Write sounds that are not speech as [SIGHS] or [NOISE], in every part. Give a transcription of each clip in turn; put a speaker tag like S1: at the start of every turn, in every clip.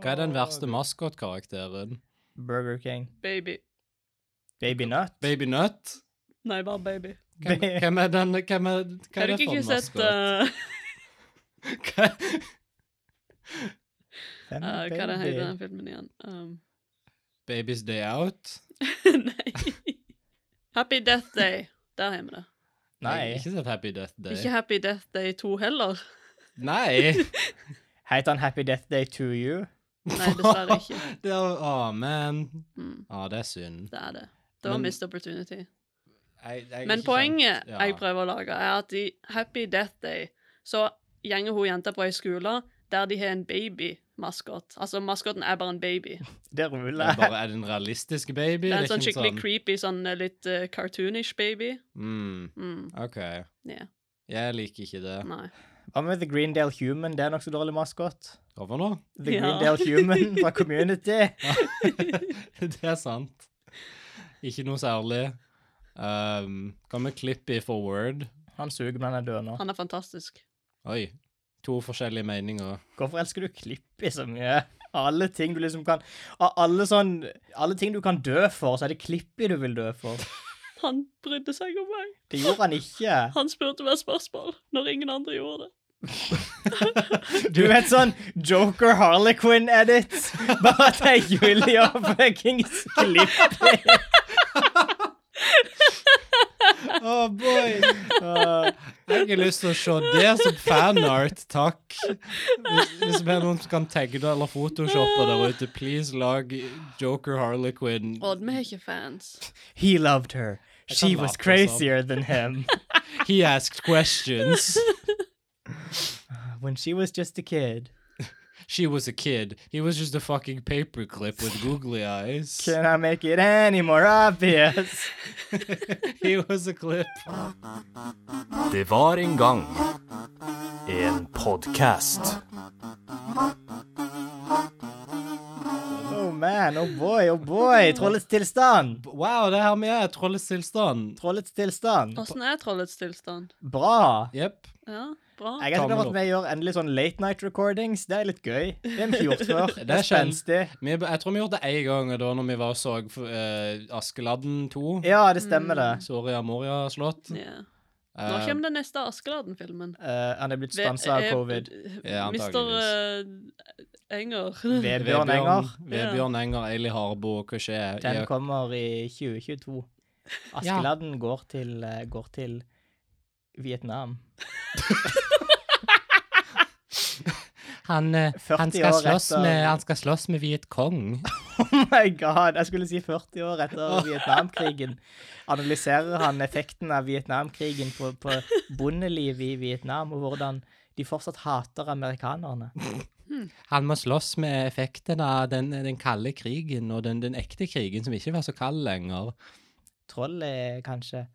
S1: Hva er den verste maskotkarakteren?
S2: Burger King.
S3: Baby.
S2: Baby Nut.
S1: Baby Nut?
S3: Nei, bare baby.
S2: [LAUGHS]
S1: Hvem,
S2: Ba-
S1: hvem er den Hvem er, hva
S3: Har
S1: er det
S3: du
S1: for
S3: ikke
S1: en
S3: sett eh,
S1: maskot? [LAUGHS]
S3: uh, [LAUGHS]
S1: Hva,
S2: Hvem
S3: uh,
S2: er
S3: Hva det heter
S2: baby?
S3: den filmen igjen? Um,
S1: [LAUGHS]
S3: [LAUGHS]
S1: Baby's Day Out?
S3: nei. Happy Death Day. Der har vi det.
S1: Jeg har
S2: Nei.
S1: Ikke sett Happy Death Day.
S3: Ikke Happy Death Day 2 heller.
S1: Nei!
S2: Heter han Happy Death Day to you?
S3: Nei,
S1: [LAUGHS]
S3: dessverre ikke.
S1: Det er, å, men
S3: Mm,
S1: Å, det er synd.
S3: det er det. Det var
S1: Men-
S3: missed opportunity.
S1: Jeg- jeg er ikke
S3: Men
S1: sånn-
S3: poenget
S1: kjent- ja.
S3: jeg prøver å lage, er at i Happy Death Day så gjenger hun jenta på ei skole der de har en babymaskot. Altså, maskoten er bare en baby.
S2: Det
S1: Det er, liksom
S2: ruller.
S1: bare, er det en realistisk baby?
S3: Det er en
S1: ikke
S3: sånn
S1: noe
S3: skikkelig creepy, sånn eh, litt eh, cartoonish baby.
S1: Mm,
S3: Mm,
S1: OK.
S3: Ja.
S1: Jeg liker ikke det.
S3: nei.
S2: Hva med The Greendale Human? Det er en nokså dårlig maskot.
S1: Over nå?
S2: The
S3: Ja.
S2: Greendale Human fra Community.
S1: [LAUGHS] det er sant. Ikke noe særlig. Um, kan vi klippe i for word?
S2: Han suger, men han er død nå.
S3: Han er fantastisk.
S1: Oi. To forskjellige meninger.
S2: Hvorfor elsker du Klippi så mye? Alle ting du liksom kan Av alle sånn Alle ting du kan dø for, så er det Klippi du vil dø for.
S3: Han brydde seg om meg.
S2: Det gjorde han ikke.
S1: [LAUGHS]
S3: Han spurte meg spørsmål når ingen andre gjorde det.
S2: Du vet sånn Joker Harlequin-edit? Bare at det er Julia fuckings Klippi.
S1: Oh boy!
S2: Uh,
S1: Eh, Jeg har ikke lyst til å se det som fanart, takk. Hvis, hvis det er noen som kan tagge det eller photoshoppe der ute, please lag Joker Harlequin.
S3: Odd, vi er ikke fans.
S2: He loved her. She
S1: kan
S2: was
S1: late som.
S2: crazier than [LAUGHS] him.
S1: He asked questions.
S2: When she was just a kid.
S1: She was a kid. He was just a fucking paperclip with googly eyes.
S2: Can I make it any more obvious?
S1: He was a clip.
S4: Det var en gang en podkast.
S2: Oh man, oh boy, oh [LAUGHS] boy. Trollets tilstand.
S1: Wow, det her med er trollets tilstand.
S2: Trollets tilstand.
S3: Åssen er trollets tilstand?
S2: Bra.
S1: Jepp.
S3: Ja, bra.
S2: Jeg er
S1: Tommel
S2: glad for
S1: opp.
S2: at vi gjør endelig sånn late night recordings. Det er litt gøy. Det har vi ikke [LAUGHS] gjort før. Det er
S1: sjelden.
S2: spenstig.
S1: Vi- Jeg tror vi gjorde det én gang, og da når vi var og så eh, Askeladden 2.
S2: Ja, det stemmer det.
S1: Soria Moria slott.
S3: Ja. Nå
S1: Eh,
S3: kommer den neste Askeladden-filmen. eh,
S2: Eh, han er blitt stansa av covid.
S1: Ja,
S3: Mister eh, Enger.
S2: Vebjørn Enger.
S1: Vebjørn Enger, Eili Harbo, hva skjer?
S2: Den
S1: Ja,
S2: kommer i 2022. Askeladden går til, eh, går til Vietnam.
S1: Han, eh,
S2: 40
S1: han, skal
S2: år
S1: slåss
S2: etter-
S1: med, han skal slåss med Viet Kong.
S2: Oh my god, jeg skulle si 40 år
S1: [LAUGHS]
S2: etter Vietnamkrigen. Analyserer han effekten av Vietnamkrigen på, på bondelivet i Vietnam, og hvordan de fortsatt hater amerikanerne?
S1: Han må slåss med effekten av den, den kalde krigen og den, den ekte krigen som ikke var så kald lenger.
S2: Troll er kanskje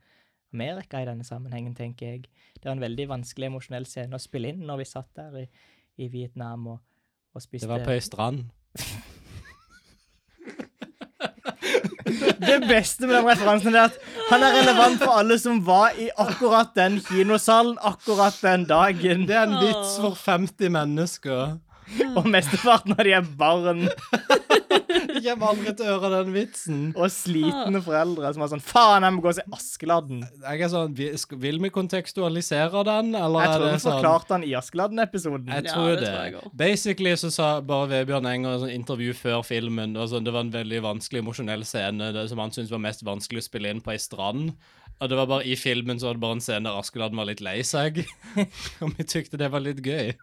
S2: Amerika i denne sammenhengen, tenker jeg. Det var en veldig vanskelig emosjonell scene å spille inn når vi satt der i, i Vietnam og, og spiste
S1: Det var på ei strand.
S2: [LAUGHS] Det beste med den referansen er at han er relevant for alle som var i akkurat den kinosalen akkurat den dagen.
S1: Det er en vits for 50 mennesker.
S2: Og mesteparten av de er barn
S1: Jeg kommer aldri til å høre den vitsen.
S2: og
S3: Ah.
S2: slitne foreldre som er sånn Faen, jeg må gå og se Askeladden.
S1: Jeg er sånn, vi- sk- Vil vi kontekstualisere den, eller
S2: Jeg
S1: er
S2: tror
S1: det
S2: vi
S1: sånn
S2: forklarte han i Askeladden-episoden.
S1: Jeg
S3: Ja,
S1: tror
S3: det
S1: det.
S3: tror jeg også.
S1: Basically så sa bare Vebjørn Enger i sånn intervju før filmen og sånn, Det var en veldig vanskelig emosjonell scene det, som han syntes var mest vanskelig å spille inn på ei strand. Og det var bare i filmen så var det bare en scene der Askeladden var litt lei seg. [LAUGHS] og vi tykte det var litt gøy.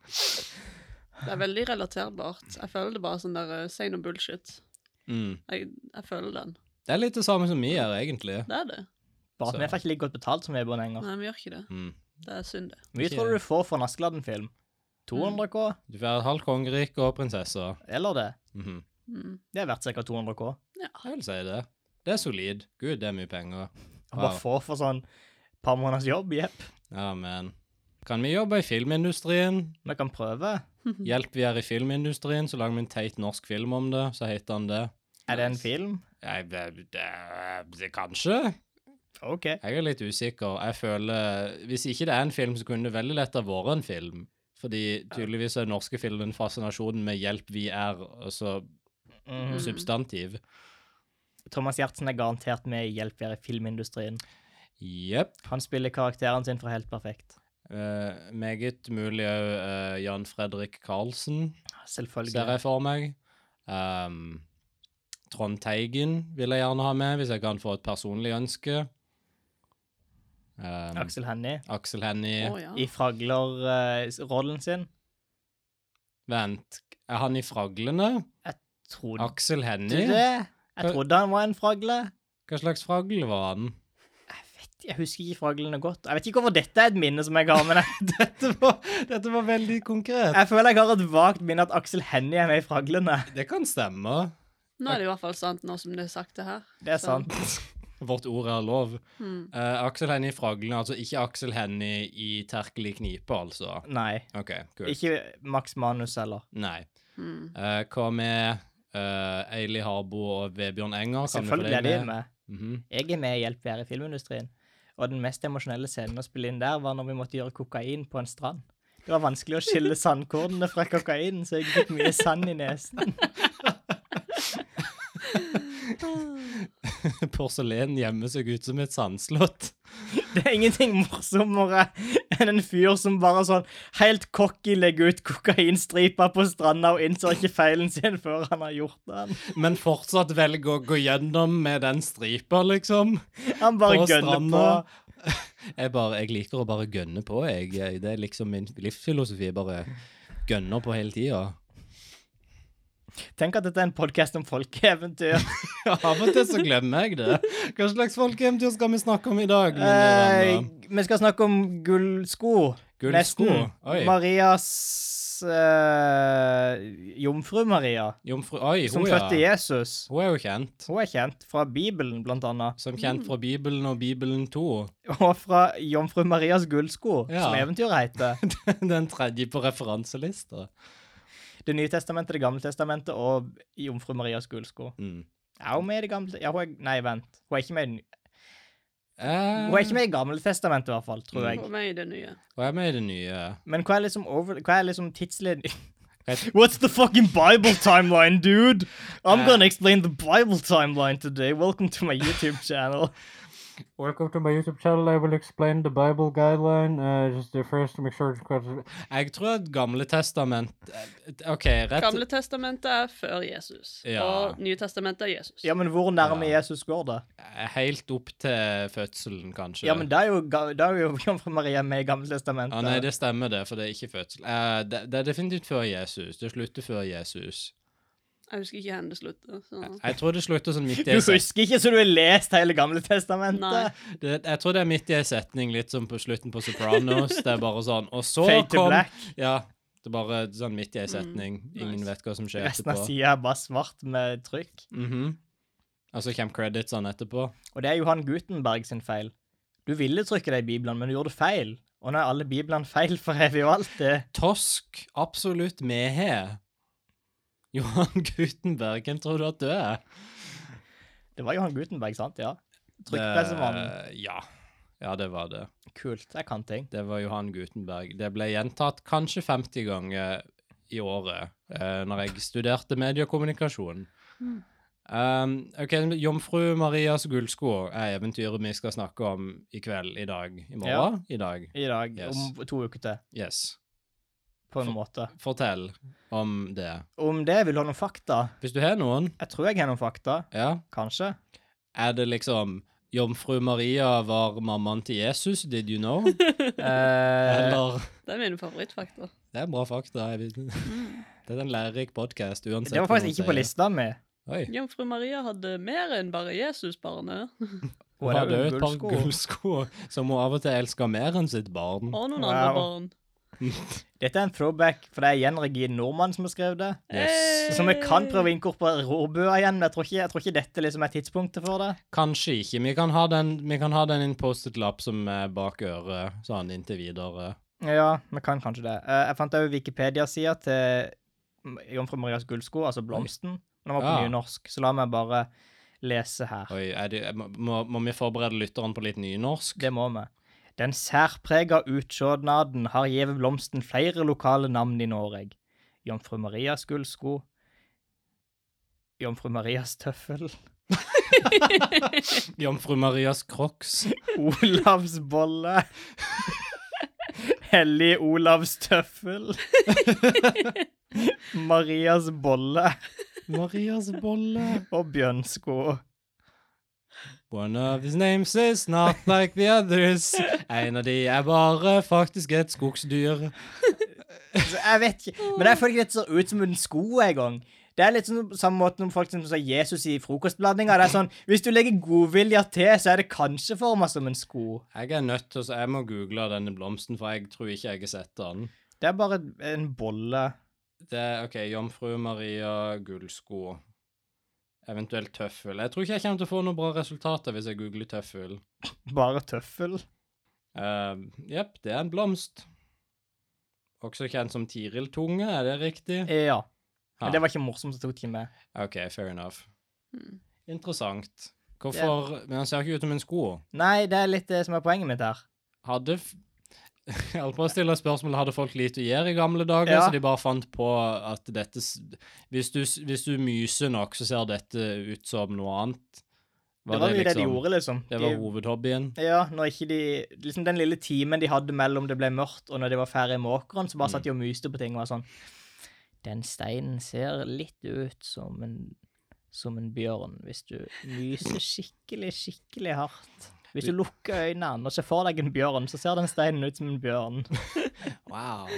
S3: Det er veldig relaterbart. Jeg føler det bare sånn der eh, Say no bullshit.
S1: Mm.
S3: Jeg, jeg føler den.
S1: Det er litt det samme som vi gjør, egentlig.
S3: Det er det.
S2: Bare at vi er faktisk like godt betalt som Vebjørn Enger.
S3: Nei, vi gjør ikke det.
S1: Mm.
S3: Det er synd, det.
S2: Hvor mye tror du du får for en
S3: Mm.
S2: Askeladden-film? 200 K?
S1: Du får et halvt kongerike og prinsesse.
S2: Eller det?
S1: Mhm.
S3: Mm.
S2: Det er verdt ca. 200 K.
S1: Jeg vil si det. Det er solid. Gud, det er mye penger.
S2: Og bare
S1: Wow.
S2: få for sånn par måneders jobb, jepp.
S1: Ja, men Kan vi jobbe i filmindustrien?
S2: Vi kan prøve.
S1: Hjelp vi er i filmindustrien, så lager vi en teit norsk film om det, så heter han det.
S2: Er det en film?
S1: Jeg, det, det, det, kanskje?
S2: OK.
S1: Jeg er litt usikker. Jeg føler Hvis ikke det er en film, så kunne det veldig lett ha vært en film. Fordi tydeligvis er den norske filmen fascinasjonen med 'hjelp vi er' altså
S2: Mhm.
S3: Mm.
S1: substantiv.
S2: Thomas Gjertsen er garantert med i Hjelp være i filmindustrien.
S1: Jepp.
S2: Han spiller karakteren sin fra Helt perfekt.
S1: Eh, meget mulig òg Jan Fredrik Karlsen, ser
S2: Selvfølgelig.
S1: jeg for meg. Ehm, Trond Teigen vil jeg gjerne ha med, hvis jeg kan få et personlig ønske. Ehm,
S2: Aksel Hennie.
S1: Aksel Hennie
S3: Å, ja.
S2: I Fragler-rollen sin.
S1: Vent, er han i Fraglene?
S2: Trodde
S1: Aksel
S2: du
S1: Hennie?
S2: det? Jeg trodde han var en fragle.
S1: Hva slags fragle var han?
S2: Jeg vet, jeg husker ikke fraglene godt. Jeg vet ikke hvorfor dette er et minne som jeg har, men jeg,
S1: [LAUGHS] Dette var, dette var veldig konkret.
S2: jeg føler jeg har et vagt minne at Aksel Hennie er med i Fraglene.
S1: Det kan stemme.
S3: Nå er det i hvert fall sant, nå som det er sagt det her.
S2: Det er
S3: Så-
S2: sant.
S1: Vårt ord er lov.
S3: Mm.
S1: Eh, Aksel Hennie i Fraglene, altså ikke Aksel Hennie i Terkel i knipe, altså.
S2: Nei.
S1: OK, kult.
S2: Ikke Max Manus heller.
S1: Nei.
S3: Mm.
S1: Eh, hva med eh, Eili Harbo og Vebjørn Enger? Kan vi få
S2: Selvfølgelig er de
S1: deg
S2: med.
S1: Mhm. [LAUGHS]
S2: Jeg er med i Hjelp vi er i filmindustrien. Og den mest emosjonelle scenen å spille inn der, var når vi måtte gjøre kokain på en strand. Det var vanskelig å skille sandkornene fra kokainen, så jeg fikk mye sand i nesen.
S1: Porselen gjemmer seg ut som et sandslott. [LAUGHS]
S2: Det er ingenting morsommere enn en fyr som bare sånn helt cocky legger ut kokainstriper på stranda og innser ikke feilen sin før han har gjort den.
S1: Men fortsatt velger å gå gjennom med den stripa, liksom.
S2: Han bare gønner på.
S1: [LAUGHS] Jeg, bare, jeg liker å bare gønne på, jeg. Det er liksom min livsfilosofi. Bare gønner på hele tida.
S2: Tenk at dette er en podkast om folkeeventyr.
S1: [LAUGHS] Av og til så glemmer jeg det. Hva slags folkeeventyr skal vi snakke om i dag? mine
S2: Eh,
S1: venner?
S2: vi skal snakke om gullsko.
S1: Gullsko?
S2: Nesten.
S1: Oi.
S2: Marias eh, Jomfru Maria,
S1: Jomfru Oi,
S2: som
S1: hun,
S2: fødte
S1: ja.
S2: Jesus.
S1: Hun er jo kjent.
S2: Hun er kjent fra Bibelen, blant annet.
S1: Som kjent fra Bibelen og Bibelen 2.
S2: Og fra Jomfru Marias gullsko,
S1: Ja.
S2: som eventyret heter.
S1: [LAUGHS] Den tredje på referanselista.
S2: Det nye testamentet, Det gamle testamentet og Jomfru Marias gullsko.
S1: Mm.
S2: Er hun med i Det gamle ja, hun er, Nei, vent. Hun er ikke med i, den-
S1: Eh,
S2: hun er ikke med i Gamle testamentet, i hvert fall, tror jeg.
S3: Og meg i det nye.
S1: Hun er med i det nye.
S2: Men hva er liksom, over, hva er liksom tidslinjen [LAUGHS]
S1: Jeg-
S2: What's the fucking Bible timeline, dude? I'm gonna explain the Bible timeline today. Welcome to my YouTube channel.
S5: Welcome to my YouTube channel. I will explain the Bible guideline. Uh, just the first, make sure it's correct.
S1: Jeg tror at Gamle Testament eh, OK, rett
S3: Gamle testamentet er før Jesus,
S1: Ja.
S3: og Nye testamentet er Jesus.
S2: Ja, men hvor nærme
S1: Ja.
S2: Jesus går det?
S1: eh, Helt opp til fødselen, kanskje.
S2: Ja, men da er jo, ga- da er jo Jomfru Maria med i Gamle testamentet.
S1: Ja, nei, det stemmer, det, for det er ikke fødsel. Eh, det, det er definitivt før Jesus. Det slutter før Jesus.
S3: Jeg husker ikke hvor det slutter. Så.
S1: Jeg tror det slutter sånn midt
S2: [LAUGHS]
S1: i
S2: Du
S1: en setning.
S2: husker ikke så du har lest hele Gamle testamentet?
S3: Nei.
S1: Det, jeg tror det er midt i en setning, litt som på slutten på Sopranos. Det er bare sånn Og så
S2: Fade to
S1: kom
S2: black.
S1: Ja. Det er bare sånn midt i ei setning. Ingen
S3: nice.
S1: vet hva som skjer
S2: Resten av
S1: etterpå.
S2: sida er bare svart med trykk.
S1: Mhm. Og så kommer creditsene etterpå.
S2: Og det er Johan Gutenberg sin feil. Du ville trykke deg i Bibelen, men du gjorde feil. Og nå er alle Biblene feil for evig og alltid.
S1: Tosk, absolutt mehe. [LAUGHS] Johan Gutenberg, hvem tror du at du er?
S2: Det var Johan Gutenberg, sant? Ja. Trykkpressemannen.
S1: Det- Ja. Ja, det var det.
S2: Kult. Jeg kan ting.
S1: Det var Johan Gutenberg. Det ble gjentatt kanskje 50 ganger i året eh, når jeg studerte mediekommunikasjon. Um, ok, Jomfru Marias gullsko er eventyret vi skal snakke om i kveld, i dag, i morgen, i dag.
S2: I dag,
S1: Yes.
S2: om to uker til,
S1: Yes.
S2: på en måte.
S1: Fortell om det.
S2: Om det vil du ha noen fakta?
S1: Hvis du har noen,
S2: Jeg tror jeg har noen fakta,
S1: ja, [LAUGHS]
S2: kanskje.
S1: er det liksom Jomfru Maria var mammaen til Jesus, did you
S2: [LAUGHS]
S1: know?
S2: Eh,
S1: Eller
S3: Det er mine favorittfakta.
S1: Det er bra fakta. Jeg vet. Det er en lærerik podkast uansett.
S2: det var
S1: hva
S2: faktisk ikke
S1: man
S2: på
S1: sier.
S2: lista mi.
S1: Oi.
S3: Jomfru Maria hadde mer enn bare Jesus-barnet,
S1: Hun
S2: det er
S1: hadde
S2: jo
S1: jo et par
S2: gullsko.
S1: gullsko som hun av og til elsker mer enn sitt barn.
S3: og noen
S2: Wow.
S3: andre barn.
S2: Dette er en throwback, for det er igjen Regine Nordmann som har skrevet det.
S1: Yes.
S2: Så vi kan prøve å inkorporere rorbua igjen, men jeg tror ikke, jeg tror ikke dette liksom er tidspunktet for det.
S1: Kanskje ikke. Vi kan ha den, vi kan ha den i en Post-It-lapp som er bak øret, sånn inntil videre.
S2: Ja, vi kan kanskje det. Eh, jeg fant òg Wikipedia-sida til Jomfru Marias gullsko, altså blomsten. Den var på
S1: Ja.
S2: nynorsk, så la meg bare lese her.
S1: Oi, er det, må, må vi forberede lytteren på litt nynorsk?
S2: Det må vi. Den særprega utsjånaden har gjeve blomsten flere lokale navn i Noreg. Jomfru Marias gullsko, Jomfru Marias tøffel, [LAUGHS]
S1: Jomfru
S2: [LAUGHS]
S1: Marias Crocs.
S2: Olavs bolle, Hellig Olavs tøffel, Marias bolle
S1: Marias bolle.
S2: og bjørnsko.
S1: One of his names is not like the others. En av de er bare faktisk et skogsdyr.
S2: Så Altså, jeg vet ikke, men jeg føler ikke det ser ut som en sko en gang. Det er litt sånn samme måten om folk som sier Jesus i frokostblandinger. Det er sånn, Hvis du legger godvilja til, så er det kanskje forma som en sko.
S1: Jeg er nødt til, så jeg må google denne blomsten, for jeg tror ikke jeg har sett den.
S2: Det er bare en bolle.
S1: Det er, ok, Jomfru Maria Gullsko. Eventuelt tøffel. Jeg tror ikke jeg kommer til å få noen bra resultater hvis jeg googler tøffel.
S2: Bare tøffel.
S1: Eh, Jepp, det er en blomst. Også kjent som tiriltunge, er det riktig?
S2: Eh, Ja.
S1: Ja.
S2: Men det var ikke morsomt å tok ikke med.
S1: OK, fair enough.
S3: Mm.
S1: Interessant. Hvorfor Men han ser ikke ut som en sko.
S2: Nei, det er litt det som er poenget mitt her.
S1: Hadde f- [LAUGHS] Jeg holdt på å stille spørsmålet hadde folk lite å gjøre i gamle dager,
S2: Ja.
S1: så de bare fant på at dette s- Hvis du, s- hvis du myser nok, så ser dette ut som noe annet.
S2: Det var jo det de gjorde, liksom.
S1: Det var
S2: de,
S1: hovedhobbyen.
S2: ja, når ikke de, liksom Den lille timen de hadde mellom det ble mørkt og når de var ferdig med åkeren, så bare satt de og myste på ting og var sånn Den steinen ser litt ut som en, som en bjørn hvis du myser skikkelig, skikkelig hardt. Hvis du lukker øynene og ser for deg en bjørn, så ser den steinen ut som en bjørn.
S1: Wow.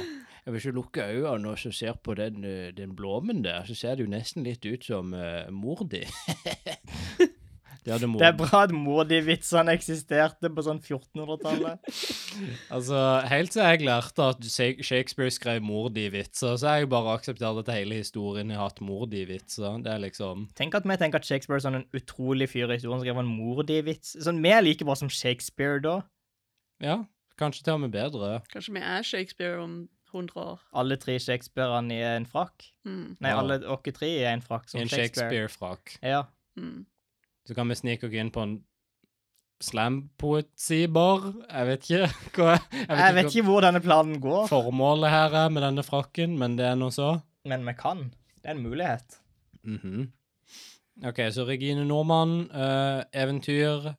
S1: Jeg vil ikke lukke øynene og så ser på den, eh, den blommen der, så ser det jo nesten litt ut som uh, mor di. [LAUGHS] det hadde mor.
S2: Det er bra at mordi-vitsene eksisterte på sånn 1400-tallet.
S1: Altså, helt til jeg lærte at Shak- Shakespeare skrev mor di-vitser, så har jeg bare akseptert at hele historien har hatt mor di-vitser. Det er liksom
S2: Tenk at vi tenker at Shakespeare er sånn en utrolig fyr i historien, skrev en mordi-vits. Sånn, Vi er like bra som Shakespeare da.
S1: Ja, kanskje til og med bedre.
S3: Kanskje vi er Shakespeare om 100 år.
S2: Alle tre Shakespearene i en frakk.
S3: Mm.
S2: Nei,
S1: Ja.
S2: alle dere tre i en frakk som
S1: I en
S2: Shakespeare.
S1: Shakespeare-frakk.
S2: Ja.
S3: Mm.
S1: Så kan vi snike oss inn på en slampoesibar. Jeg vet ikke [LAUGHS] hva Jeg
S2: Jeg vet
S1: ikke
S2: ikke hvor denne planen
S1: hva
S2: går,
S1: formålet her er med denne frakken, men det er nå så.
S2: men vi kan. Det er en mulighet.
S1: Mhm. OK, så Regine Nordmann, eh, eventyr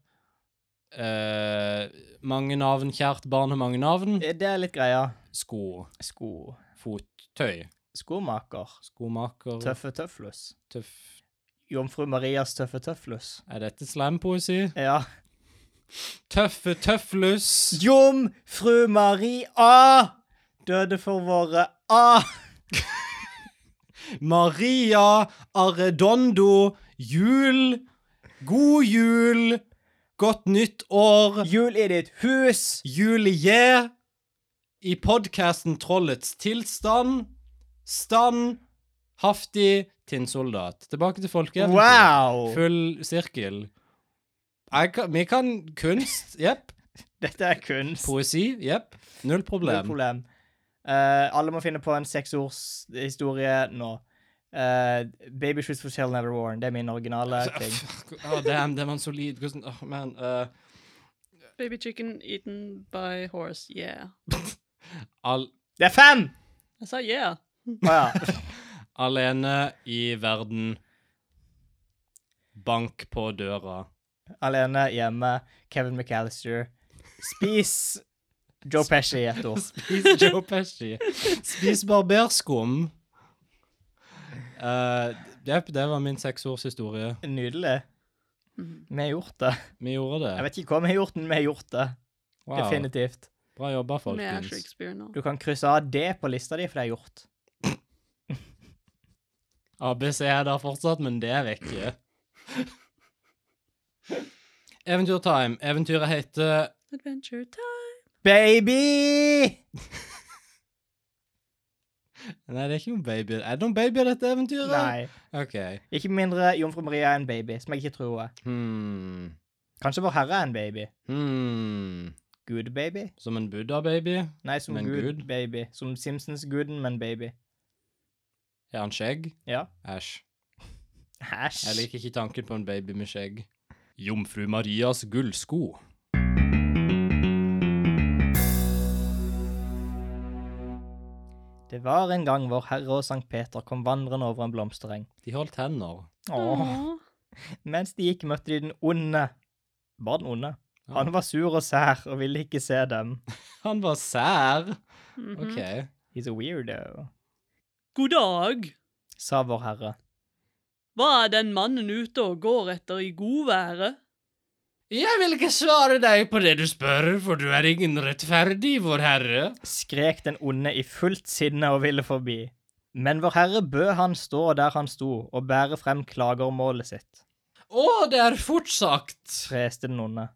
S1: eh, Mange navn, kjært barn har mange navn.
S2: Eh, Det er litt greia.
S1: Sko.
S2: Sko.
S1: Fottøy.
S2: Skomaker.
S1: Skomaker.
S2: Tøffe tøflus.
S1: Tøff.
S2: Jomfru Marias tøffe tøflus.
S1: Er dette slampoesi?
S2: Ja.
S1: Tøffe tøflus.
S2: Jomfru Maria døde for våre A.
S1: Maria Arredondo. Jul. God jul. Godt nytt år.
S2: Jul i ditt hus.
S1: Julie i podkasten Trollets tilstand. Stand haftig tinnsoldat. Tilbake til folkeeventyr.
S2: Wow!
S1: Full sirkel. Jeg kan, vi kan kunst. Jepp.
S2: Dette er kunst.
S1: Poesi. Jepp. Null
S2: Null
S1: problem.
S2: problem. Eh, alle må finne på en seksordshistorie nå. Eh, baby shoes for shell never worn. Det er min originale ting.
S1: Oh, damn, det var en solid Hvordan åh, man, eh,
S3: Baby chicken eaten by horse, yeah.
S1: al
S2: Det er fem!
S3: Jeg sa yeah.
S2: Å ja. [LAUGHS]
S1: Alene i verden. Bank på døra.
S2: Alene hjemme. Kevin McAllister. Spis Joe Pesci i ett ord.
S1: [LAUGHS] Spis Joe Pesci. [LAUGHS] Spis barberskum. Eh, Jepp, det var min seksårshistorie.
S2: Nydelig.
S3: Mhm.
S2: Vi har gjort det.
S1: Vi gjorde
S2: Jeg
S1: det.
S2: vet ikke hva vi har gjort, men vi har gjort det.
S1: Wow.
S2: Definitivt.
S1: Bra jobba,
S3: Vi er
S1: folkens.
S3: Shakespeare nå.
S2: Du kan krysse av D på lista di, for det er gjort.
S1: ABC er der fortsatt, men det er [LAUGHS] vekke. Eventyrtime. Eventyret heter
S3: Adventure time.
S2: Baby!
S1: Nei, det er ikke noen baby. Er det noen baby i dette eventyret?
S2: Nei.
S1: OK.
S2: Ikke mindre Jomfru Maria er en baby, som jeg ikke tror hun er.
S1: Hmm.
S2: Kanskje Vår Herre er en baby.
S1: Hmm.
S2: Gud-baby?
S1: Som en buddha-baby?
S2: Nei, som
S1: Men
S2: Gud,
S1: Gud?
S2: baby. Som Simpsons-guden, men baby.
S1: Er han skjegg?
S2: Ja.
S1: Æsj. Jeg
S2: Æsj.
S1: liker ikke tanken på en baby med skjegg. Jomfru Marias gullsko.
S2: Det var en gang vår Herre og Sankt Peter kom vandrende over en blomstereng.
S1: De holdt hender.
S2: Åh. Mens de gikk, møtte de den onde. Bare den onde. Han var sur og sær og ville ikke se dem.
S1: Han var sær.
S3: Mhm.
S1: OK.
S2: He's a weirdo,
S3: God dag.
S2: sa vår Herre.
S3: Hva er den mannen ute og går etter i godværet?
S1: Jeg vil ikke svare deg på det du spør, for du er ingen rettferdig, vår herre.
S2: Skrek den onde i fullt sinne og ville forbi. Men vår Herre bød han stå der han sto, og bære frem klagermålet sitt,
S1: Å, det er fort sagt.
S2: freste den onde.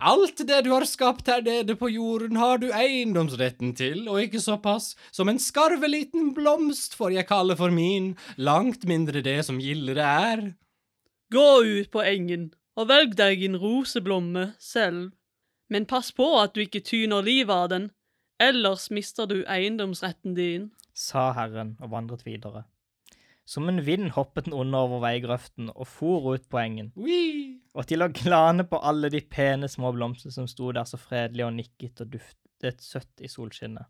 S1: Alt det du har skapt her nede på jorden, har du eiendomsretten til, og ikke såpass. Som en skarveliten blomst får jeg kalle for min, langt mindre det som gildere er.
S3: Gå ut på engen og velg deg en roseblomme selv. Men pass på at du ikke tyner livet av den, ellers mister du eiendomsretten din.
S2: sa Herren og vandret videre. Som en vind hoppet den onde over veigrøften og for ut på engen,
S1: Ui.
S2: og til å glane på alle de pene små blomster som sto der så fredelig og nikket og duftet søtt i solskinnet.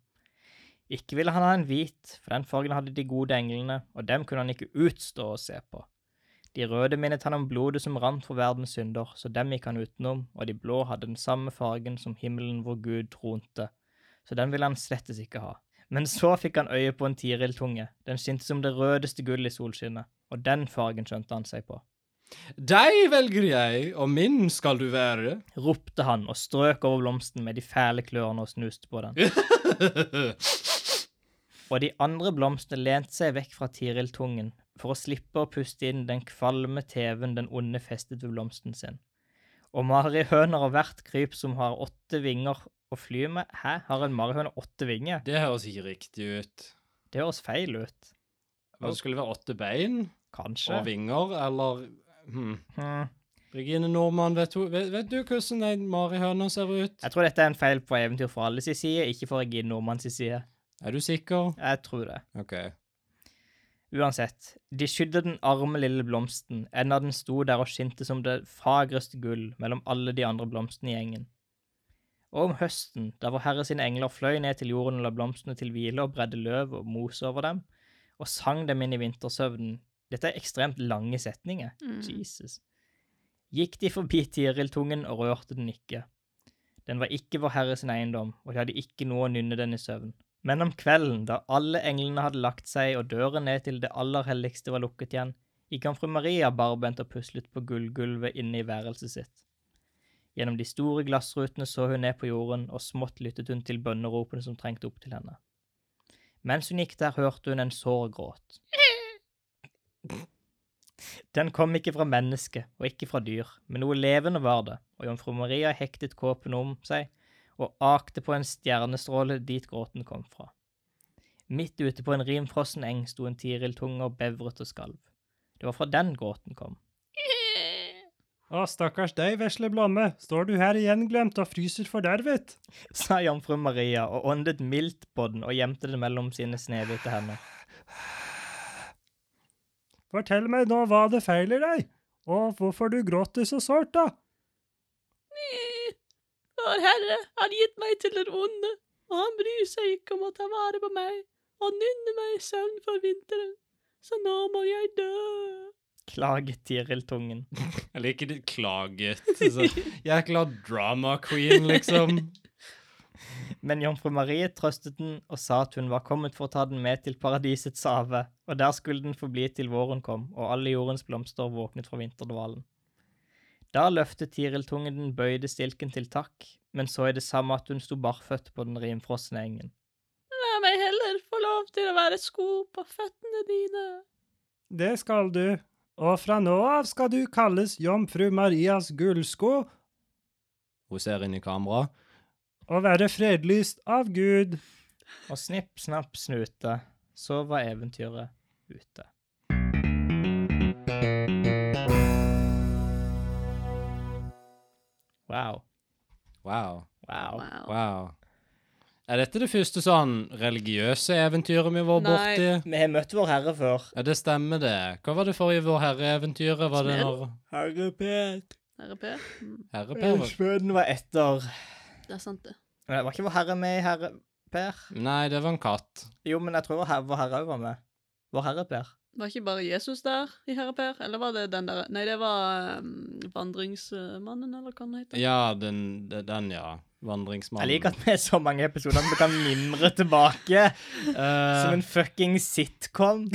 S2: Ikke ville han ha en hvit, for den fargen hadde de gode englene, og dem kunne han ikke utstå å se på. De røde minnet han om blodet som rant for verdens synder, så dem gikk han utenom, og de blå hadde den samme fargen som himmelen hvor Gud tronte, så den ville han slettes ikke ha. Men så fikk han øye på en tiriltunge, den skinte som det rødeste gull i solskinnet, og den fargen skjønte han seg på.
S1: Deg velger jeg, og min skal du være. [LAUGHS]
S2: ropte han og strøk over blomsten med de fæle klørne og snuste på den. Og de andre blomstene lente seg vekk fra Tiril-tungen for å slippe å puste inn den kvalme teven den onde festet ved blomsten sin. Og marihøner og hvert kryp som har åtte vinger å fly med Hæ, har en marihøne åtte vinger?
S1: det høres ikke riktig ut.
S2: Det høres feil ut.
S1: Det skulle være åtte bein
S2: Kanskje.
S1: og vinger, eller hmm.
S2: Hmm.
S1: Regine Normann, vet, hun- vet, vet du hvordan ei marihøne ser ut?
S2: Jeg tror dette er en feil på Eventyr for alle sin side, ikke for Regine Nordmann sin side.
S1: Er du sikker?
S2: Jeg tror det.
S1: OK.
S2: Uansett, de skydde den arme lille blomsten, enda den sto der og skinte som det fagreste gull mellom alle de andre blomstene i gjengen. Og om høsten, da vår Herre sine engler fløy ned til jorden og la blomstene til hvile og bredde løv og mose over dem, og sang dem inn i vintersøvnen Dette er ekstremt lange setninger.
S3: Mm.
S2: Jesus. Gikk de forbi Tiril-tungen og rørte den ikke. Den var ikke vår Herre sin eiendom, og de hadde ikke noe å nynne den i søvn. Men om kvelden, da alle englene hadde lagt seg og døren ned til det aller helligste var lukket igjen, gikk han fru Maria barbent og puslet på gullgulvet inne i værelset sitt. Gjennom de store glassrutene så hun ned på jorden, og smått lyttet hun til bønneropene som trengte opp til henne. Mens hun gikk der, hørte hun en sår gråt. Den kom ikke fra menneske, og ikke fra dyr, men noe levende var det, og jomfru Maria hektet kåpen om seg og akte på en stjernestråle dit gråten kom fra. Midt ute på en rimfrossen eng sto en tiriltunge og bevret og skalv. Det var fra den gråten kom.
S6: Å, stakkars deg, vesle blomme. Står du her igjen glemt og fryser fordervet?
S2: sa jomfru Maria og åndet mildt på den og gjemte den mellom sine snehvite hender.
S6: Fortell meg nå hva det feiler deg, og hvorfor du gråter så sårt, da?
S3: Vår Herre har gitt meg til den onde, og han bryr seg ikke om å ta vare på meg og nynne meg i søvn for vinteren, så nå må jeg dø.
S2: Klaget Tiril-tungen.
S1: Jeg liker ditt klaget. Altså, Så.
S6: [LAUGHS]
S1: Jækla drama queen, liksom.
S2: Men jomfru Marie trøstet den og sa at hun var kommet for å ta den med til paradisets have, og der skulle den forbli til våren kom og alle jordens blomster våknet fra vinterdvalen. Da løftet Tiril-tungen den bøyde stilken til takk, men så i det samme at hun sto barføtt på den rimfrosne engen.
S3: La meg heller få lov til å være sko på føttene dine.
S6: Det skal du. Og fra nå av skal du kalles Jomfru Marias gullsko
S1: Hun ser inn i kamera.
S6: og være fredlyst av Gud.
S2: Og snipp, snapp, snute, så var eventyret ute. Wow.
S1: Wow.
S2: Wow.
S1: Wow. Er dette det første sånn religiøse eventyret vi var
S3: Nei.
S1: borti?
S2: Vi har møtt vår herre før.
S1: Ja, det stemmer, det. Hva var det forrige Vår Herre-eventyret? Var det når
S2: Herre Pet.
S3: RP? Mm,
S1: Herre Per var
S2: Spøden var etter.
S3: det er sant, det.
S2: Nei, var ikke vår herre med i herre... Per?
S1: Nei, det var en katt.
S2: Jo, men jeg tror Her- Vår Herre var med. Vår Herre Per.
S3: Var ikke bare Jesus der i Herre Per? Eller var det den der Nei, det var um, Vandringsmannen, eller hva han heter.
S1: Ja, den, den- den ja. Vandringsmannen.
S2: Jeg liker at vi er så mange episoder at vi kan mimre tilbake
S1: [LAUGHS] Eh,
S2: som en fucking sitcom.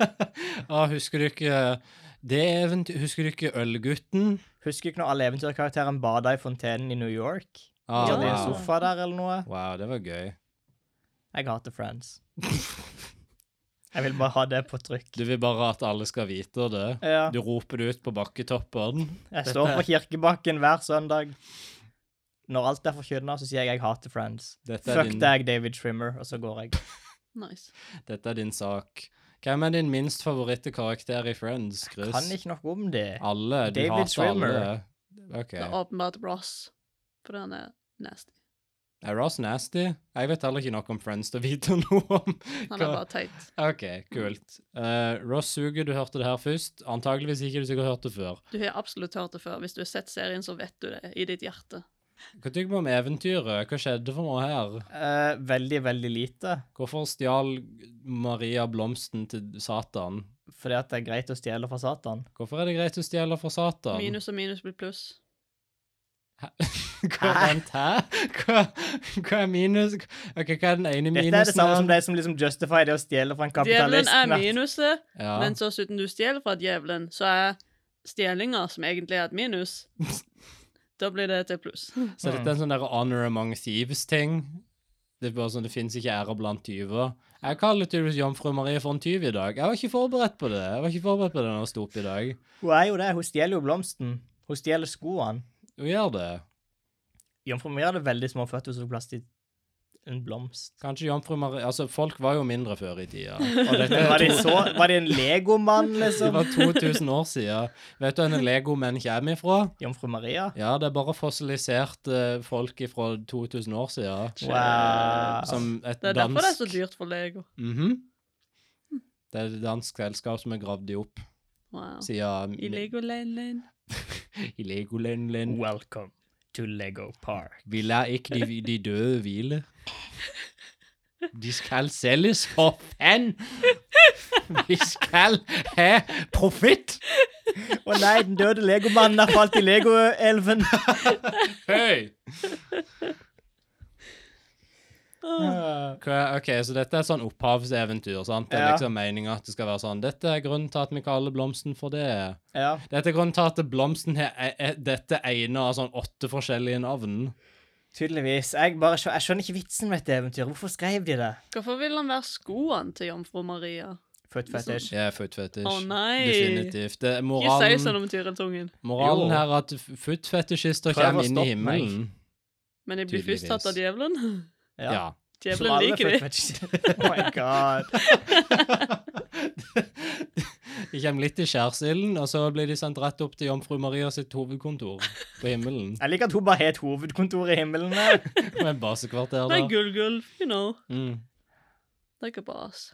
S1: [LAUGHS] ah, husker du ikke det eventyr... Husker du ikke Ølgutten?
S2: Husker du ikke når alle eventyrkarakterene bada i fontenen i New York?
S1: Ah,
S2: Så
S3: Ja,
S2: hadde de en
S1: wow.
S3: så-
S2: sofa der eller noe.
S1: wow, det var gøy.
S2: Jeg hater
S1: [LAUGHS]
S2: Friends. Jeg vil bare ha det på trykk.
S1: Du vil bare at alle skal vite det.
S2: Ja,
S1: Du roper det ut på bakketoppen.
S2: jeg står på kirkebakken hver søndag. Når alt er forkynna, så sier jeg jeg hater Friends.
S1: Dette er,
S2: Fuck
S1: din,
S2: deg, David Trimmer, og så går jeg.
S3: Nice.
S1: dette er din sak. Hvem er din minst favoritte karakter i Friends, Chris?
S2: Kan ikke noe om det.
S1: Alle. Du
S2: David
S1: hater
S2: Schwimmer.
S1: alle. OK.
S3: Det er åpenbart Ross, for han er nasty.
S1: Er Ross nasty? Jeg vet heller ikke nok om Friends til å vite [LAUGHS] noe om.
S3: Han er
S1: Hva-
S3: bare teit.
S1: OK, kult. Eh, Ross suger, du hørte det her først. Antakeligvis ikke du sikkert hørte det før.
S3: Du har absolutt hørt det før. Hvis du har sett serien, så vet du det i ditt hjerte.
S1: Hva tykker vi om eventyret? Hva skjedde for noe her?
S2: Eh, veldig, veldig lite.
S1: Hvorfor stjal Maria blomsten til Satan?
S2: Fordi at det er greit å stjele fra Satan.
S1: Hvorfor er det greit å stjele fra Satan?
S3: Minus og minus blir pluss.
S1: [LAUGHS] Hva, vent, hæ? Hva, hva er minus? Ok, hva er den ene minusen?
S2: Dette er det samme som
S1: her?
S2: de som liksom justifier det å stjele fra en
S3: Djevelen
S2: kapitalist.
S3: er
S2: men-
S3: minuset,
S1: Ja.
S3: men så siden du stjeler fra djevelen, så er stjelinga, som egentlig er et
S1: [LAUGHS]
S3: minus Da blir det til pluss.
S1: Så dette er
S3: Mm.
S1: en sånn der honor among thieves-ting. Det er bare sånn, det finnes ikke ære blant tyver. Jeg kaller tydeligvis jomfru Marie for en tyv i dag. Jeg var ikke forberedt på det. Jeg var ikke forberedt på det når jeg sto opp i dag.
S2: Hun er jo det. Hun stjeler jo blomsten. Hun stjeler skoene.
S1: Hun gjør det.
S2: Jomfru Maria hadde veldig små føtter, så hun plass til en
S1: [LAUGHS]
S2: blomst.
S1: Kanskje jomfru Marie... Altså, folk var jo mindre før i
S3: [LAUGHS]
S1: tida. Og dette
S2: Var de, så, var de en legomann,
S1: Det [LAUGHS]
S2: liksom?
S1: var 2000 år siden. Vet du hvor legomenn kommer ifra?
S2: Jomfru Maria?
S1: Ja, det er bare fossiliserte folk fra 2000 år siden.
S2: Wow.
S1: Som et
S3: Det er
S1: dansk
S3: derfor det er så dyrt for Lego.
S1: Mhm. Det er et dansk selskap som har gravd de opp
S3: Wow.
S1: siden
S3: I Legoland.
S1: I Legoland. land.
S2: Welcome to Lego Park.
S1: Vi lar ikke de, de døde hvile. De skal selges for penn! Vi skal ha profitt!
S2: Å nei, den døde legomannen har falt i
S1: [LAUGHS]
S2: legoelven.
S1: Høy!
S2: Ja.
S1: Hva- Ok, så dette er et sånn opphavseventyr, sant? Det er
S2: Ja.
S1: liksom meningen at det skal være sånn. Dette er grunnen til at vi kaller blomsten for det.
S2: ja.
S1: Dette er grunnen til at blomsten har e- e- dette ene av sånn åtte forskjellige navn.
S2: Tydeligvis. Jeg, bare, skjø- jeg skjønner ikke vitsen med dette eventyret. Hvorfor skrev de det?
S3: Hvorfor vil han være skoene til jomfru Maria?
S2: Foot fetish.
S1: Jeg er foot fetish.
S3: Å, nei.
S1: Definitivt. Det er
S3: Ikke si sånn
S1: moralen,
S3: om Tyreltungen.
S1: moralen
S2: Jo.
S1: her er at f- foot fetishister
S2: Prøv å
S1: kommer inn i
S2: stoppe
S1: himmelen.
S3: Men jeg blir først tatt av djevelen. [LAUGHS]
S1: Ja.
S2: Ja. Som
S3: Djevelen
S2: alle
S3: liker
S2: foot
S3: det.
S2: fetishes. [LAUGHS] Oh my god.
S1: De kommer litt i skjærsilden, og så blir de sendt rett opp til jomfru Maria sitt hovedkontor på
S3: [LAUGHS]
S1: himmelen.
S2: Jeg liker at hun bare har et hovedkontor i himmelen. her.
S1: Med basekvarter
S3: Det er
S1: der.
S3: gullgulv, you know.
S1: Mm.
S3: Det er ikke bra, ass.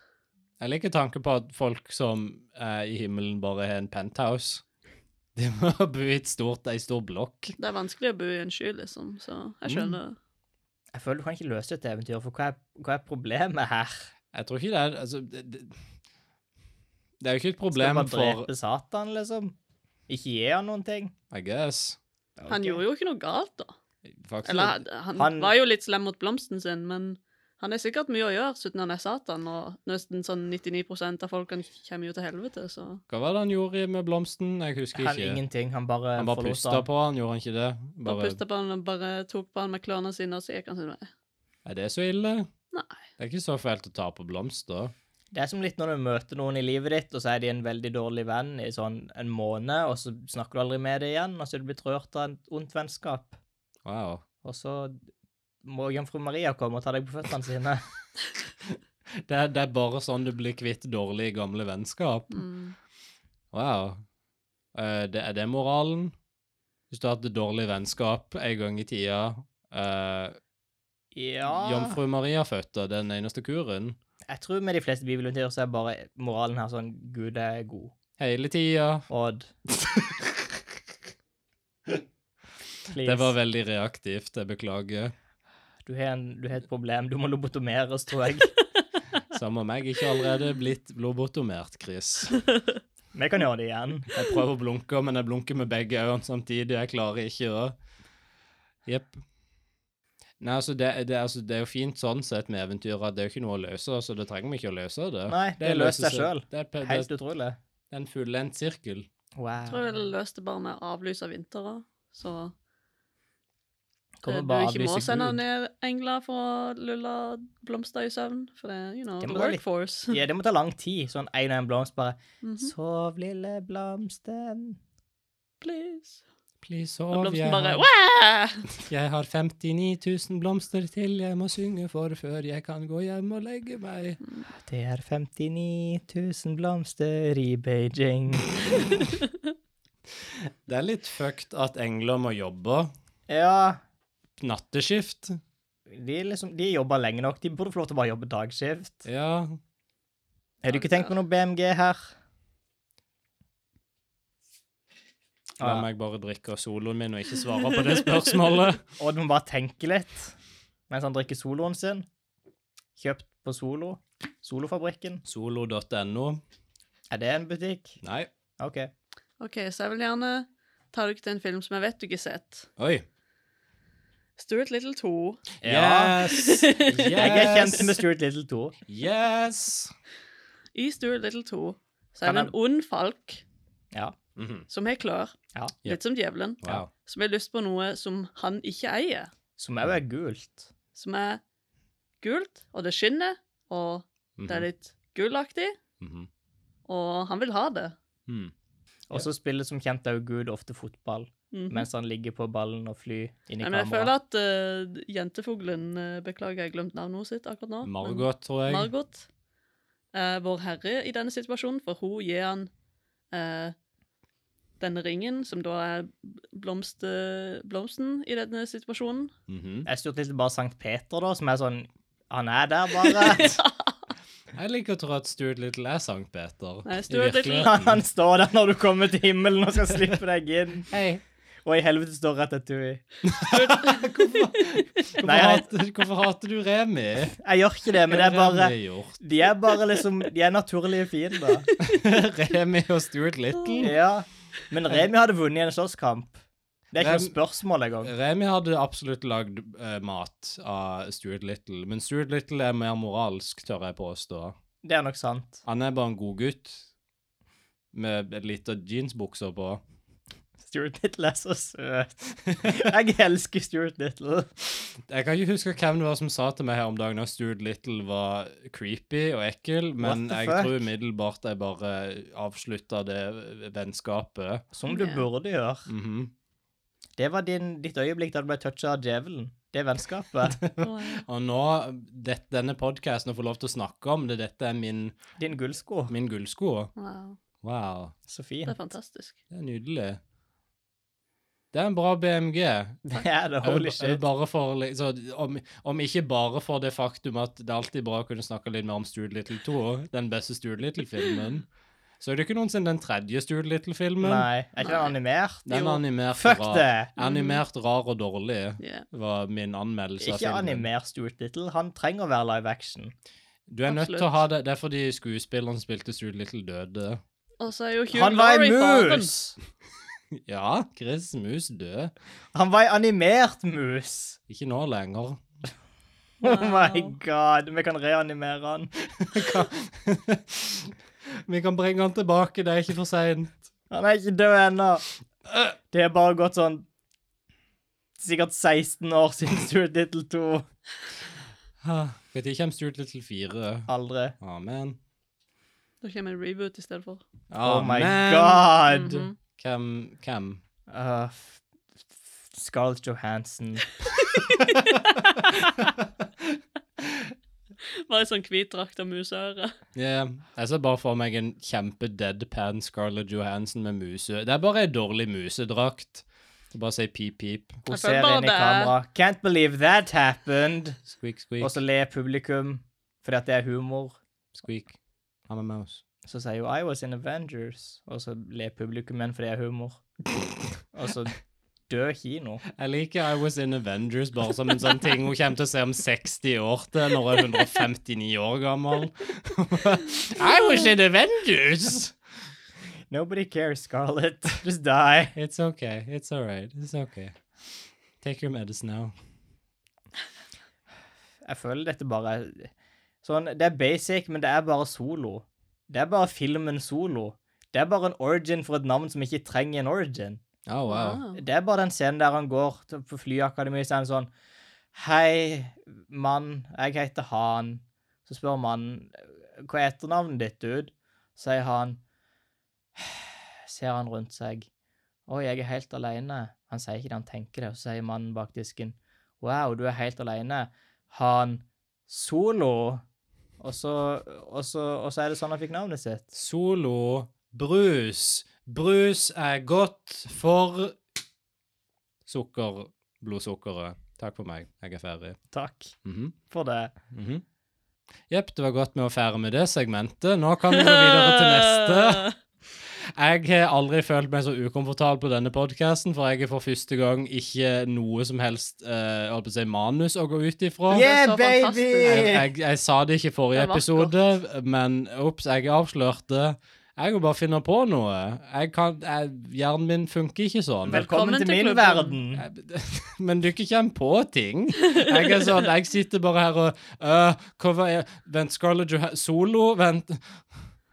S1: Jeg liker tanken på at folk som er i himmelen bare har en penthouse. De må [LAUGHS] ha bo i et stort, ei stor blokk.
S3: Det er vanskelig å bo i en sky, liksom, så
S2: Mm.
S3: jeg skjønner.
S2: Jeg føler du kan ikke løse dette eventyret, for hva er, hva er problemet her?
S1: Jeg tror ikke det er Altså, det, det, det er jo ikke et
S2: Skal du
S1: problem
S2: bare
S1: for
S2: drepe Satan, liksom? Ikke gi han noen ting?
S1: I guess.
S3: Han gjorde jo ikke noe galt, da.
S1: Faktisk.
S3: Eller han,
S2: Han-
S3: var jo litt slem mot blomsten sin, men han er sikkert mye å gjøre siden han er Satan, og nesten sånn 99 av folkene kommer jo til helvete, så
S1: Hva var det han gjorde med blomsten? Jeg husker
S2: Han
S1: ikke.
S2: ingenting, han
S3: eh,
S2: bare
S1: han bare
S2: forlot
S1: pusta
S2: han.
S1: på han, gjorde han ikke det?
S3: bare
S1: Bare,
S3: pustet på han og bare tok på han med klørne sine, og så gikk han sin vei.
S1: er det så ille?
S3: Nei.
S1: Det er ikke så fælt å ta på blomster.
S2: Det er som litt når du møter noen i livet ditt, og så er de en veldig dårlig venn i sånn en måned, og så snakker du aldri med dem igjen, og så er du blitt rørt av et ondt vennskap.
S1: Wow.
S2: Og så må jomfru Maria komme og ta deg på føttene sine.
S1: Det er, det er bare sånn du blir kvitt dårlige gamle vennskap.
S3: Mm.
S1: Wow. Eh, det, er det moralen? Hvis du har hatt et dårlig vennskap en gang i tida eh,
S2: Ja
S1: Jomfru Maria fødte den eneste kuren.
S2: Jeg tror med de fleste bibelentyr så er bare moralen her sånn Gud er god.
S1: Hele tida.
S2: Odd. Please.
S1: Det var veldig reaktivt, jeg beklager.
S2: Du har, en, du har et problem. Du må lobotomeres, tror jeg.
S1: Som om jeg ikke allerede er blitt lobotomert, Chris.
S2: Vi kan gjøre det igjen.
S1: Jeg prøver å blunke, men jeg blunker med begge øynene samtidig. Jeg klarer ikke å Jepp. Nei, altså det, det, altså, det er jo fint sånn sett med eventyr at det er jo ikke noe å løse, så det trenger vi ikke å løse det.
S2: Nei, det løser seg sjøl.
S1: Det er, pe- det,
S2: Helt utrolig.
S1: det er en fullendt sirkel.
S3: Jeg tror jeg
S2: Wow.
S3: ville løst det bare med å avlyse vinterer. Så
S2: Kommer
S3: eh, du
S2: bare
S3: ikke må
S2: avlyse
S3: sende
S2: Gud.
S3: ned engler for å lulle blomster i søvn. For det er, you know,
S2: Det
S3: the
S2: må være litt- [LAUGHS]
S3: workforce.
S2: Ja, det må ta lang tid. Sånn én og én blomst bare
S3: Mhm.
S2: Sov, lille blomsten.
S3: Please.
S1: Please
S3: Og
S1: sov, jeg
S3: blomsten bare
S1: har,
S3: Wah!
S1: jeg har 59 000 blomster til jeg må synge for før jeg kan gå hjem og legge meg.
S2: Det er 59 000 blomster i Beijing.
S1: Det er litt fucked at engler må jobbe
S2: Ja,
S1: natteskift.
S2: de, er liksom, de jobber lenge nok. De burde få lov til å bare jobbe dagskift.
S1: Ja,
S2: Har du ikke tenkt på noe BMG her?
S1: la
S2: Ah, ja.
S1: meg bare drikke av soloen min og ikke svare på det spørsmålet.
S2: Og du må bare tenke litt mens han drikker soloen sin. Kjøpt på Solo. Solofabrikken.
S1: Solo.no.
S2: Er det en butikk?
S1: Nei.
S2: OK.
S3: OK, så jeg vil gjerne ta dere til en film som jeg vet du ikke har sett.
S1: Oi.
S3: Stuart Little 2.
S2: Ja.
S1: [LAUGHS] Yes!
S2: Jeg er
S1: Yes!
S2: kjent med Stuart Little 2.
S1: Yes!
S3: I Stuart Little 2 så er
S2: Kan
S3: det
S2: jeg-
S3: en ond falk
S2: Ja.
S1: Mhm.
S3: som har klør,
S2: ja.
S3: litt som djevelen,
S1: Wow.
S3: som har lyst på noe som han ikke eier.
S2: Som òg er gult.
S3: som er gult, og det skinner, og det
S2: Mhm.
S3: er litt gulaktig,
S1: Mhm.
S3: og han vil ha det.
S1: Mhm.
S2: Og så spiller som kjent òg Gud ofte fotball
S3: Mhm.
S2: mens han ligger på ballen og flyr inn i
S3: Nei, men jeg føler
S2: kameraet.
S3: at eh, jentefuglen eh, Beklager, jeg glemte navnet hennes sitt akkurat nå. men-
S1: Margot, tror jeg.
S3: Margot. eh, vår herre i denne situasjonen, for hun gir han eh, denne ringen, som da er blomster, blomsten i denne situasjonen.
S1: Mhm.
S2: Jeg styrte litt bare Sankt Peter, da, som er sånn Han er der, bare.
S3: [LAUGHS]
S2: [LAUGHS]
S1: Jeg liker å tro at Stuart Little er Sankt Peter.
S3: Nei,
S1: I
S3: Stuart Little-
S1: virkeligheten.
S2: han står der når du kommer til himmelen og skal slippe deg inn.
S1: Hei.
S2: Og i helvete står Ratatouille.
S1: Hvorfor,
S2: Nei, jeg-
S1: hater, hvorfor hater du Remi?
S2: Jeg gjør ikke det, men det er bare
S1: Remi, gjort? [LAUGHS]
S2: De er bare liksom De er naturlige fiender.
S1: Remi og Stuart Little?
S2: Ja. Men Remi hadde vunnet i en slåsskamp. Det er ikke noe
S1: Rem-
S2: spørsmål engang.
S1: Remi hadde absolutt lagd eh, mat av Stuart Little, men Stuart Little er mer moralsk, tør jeg påstå.
S2: Det er nok sant.
S1: Han er bare en god gutt med et lite jeansbukser på.
S2: Stuart Little er så søt. Jeg elsker Stuart Little.
S1: Jeg kan ikke huske hvem det var som sa til meg her om dagen at Stuart Little var creepy og ekkel, men
S2: What the
S1: jeg
S2: fuck?
S1: tror umiddelbart jeg bare avslutta det vennskapet.
S2: Som du
S3: Ja.
S2: burde gjøre.
S1: Mhm.
S2: Det var din, ditt øyeblikk da du ble toucha av djevelen. Det er vennskapet.
S3: Og,
S1: Og nå, det, denne podkasten å få lov til å snakke om det, dette er min,
S2: Din gullsko.
S1: min gullsko.
S3: wow,
S1: Wow,
S2: Så
S3: det
S2: fin.
S3: er fantastisk.
S1: det er nydelig. Det er en bra BMG.
S2: Det er det.
S1: Jeg vil-
S2: Holy
S1: jeg vil
S2: shit.
S1: Bare for, li- så, om, om ikke bare for det faktum at det er alltid bra å kunne snakke litt mer om Stuart Little 2, den beste Stuart Little-filmen, så er det ikke noensinne den tredje Stuart Little-filmen.
S2: Nei. Er ikke den animert?
S1: Den
S3: Jo.
S1: var animert
S2: Fuck
S1: rar.
S2: det!
S1: Animert rar og dårlig
S3: Yeah.
S1: var min anmeldelse av
S2: Ikke
S1: filmen.
S2: animer Stuart Little. Han trenger å være live action.
S1: Du er nødt til å
S3: Absolutt.
S1: ha det. Det er fordi skuespilleren som spilte Stuart Little, døde.
S3: Og så er jo Hugh
S2: Han var
S3: Laurie
S2: en
S3: faren.
S2: mus!
S1: Ja, Chris Mus død.
S2: Han var en animert mus! [LAUGHS]
S1: Ikke nå lenger.
S2: Oh my
S3: Wow.
S2: god, vi kan reanimere han.
S1: Vi kan bringe han tilbake, det er ikke for seint.
S2: Han er ikke død ennå. Det er bare gått sånn Sikkert 16 år siden [LAUGHS] Stuart Little 2.
S1: Når kommer Stuart Little 4?
S2: Aldri.
S1: Amen.
S3: Da kommer en reboot i stedet for.
S2: Oh my
S1: Amen.
S2: god!
S3: Mhm.
S1: Ah, Hvem? Hvem?
S2: Uh, f- f- Scarlett Johansson.
S3: Bare sånn hvit drakt og museøre.
S1: Ja, Jeg ser bare for meg en kjempe deadpan Scarlett Johansson med muse. Det er bare ei dårlig musedrakt. Så bare si pip-pip.
S2: Hun
S3: Jeg føler
S2: ser
S3: bare
S2: inn i
S3: det er-
S2: kamera. Can't believe that happened.
S1: Squeak,
S2: Og
S1: squeak,
S2: så ler publikum fordi at det er humor.
S1: squeak. I'm a mouse.
S2: Så sier hun I was in Avengers, og så ler publikum igjen fordi det er humor. Og så død kino.
S1: Jeg liker I Was In Avengers bare som en sånn ting hun kommer til å se om 60 år til, når hun er 159 år gammel. [LAUGHS] I Was In Avengers!
S2: Nobody cares, Scarlett. [LAUGHS] Just die.
S1: It's okay. It's all right. It's okay. Take your medicine now.
S2: Jeg føler dette bare er- Sånn, det er basic, men det er bare solo. Det er bare filmen solo. Det er bare en origin for et navn som ikke trenger en origin.
S1: Oh, wow.
S3: Ah.
S2: Det er bare den scenen der han går til- på flyakademiet, så er han sånn Hei, mann, jeg heter Han. Så spør mannen hva er etternavnet ditt, dude? Sier han [SIGHS] Ser han rundt seg. Oi, jeg er helt aleine. Han sier ikke det, han tenker det, og så sier mannen bak disken Wow, du er helt aleine. Han Solo. Og så, og, så, og så er det sånn han fikk navnet sitt.
S1: Solo brus. Brus er godt for sukker, blodsukkeret. Takk for meg. Jeg er ferdig.
S2: Takk
S1: Mhm,
S2: for det.
S1: mhm. Jepp, det var godt med å fære med det segmentet. Nå kan vi gå videre til
S3: [LAUGHS]
S1: neste. [LAUGHS] Jeg har aldri følt meg så ukomfortabel på denne podkasten, for jeg er for første gang ikke noe som helst eh, jeg holdt på å si, manus å gå ut ifra.
S2: Yeah,
S3: så
S2: [LAUGHS]
S3: fantastisk.
S1: Jeg,
S2: baby!
S1: jeg, jeg sa det ikke i forrige
S3: Det var
S1: episode, men ops, jeg avslørte. Jeg må bare finne på noe. Jeg kan, jeg, hjernen min funker ikke sånn.
S2: Velkommen
S3: Velkommen
S2: til
S3: til
S2: min
S3: klubben.
S2: verden.
S1: [LAUGHS] Men du ikke kommer på ting. Jeg er sånn, jeg sitter bare her og øh, hva var jeg? Vent, Scarlett Johan... Solo? Vent.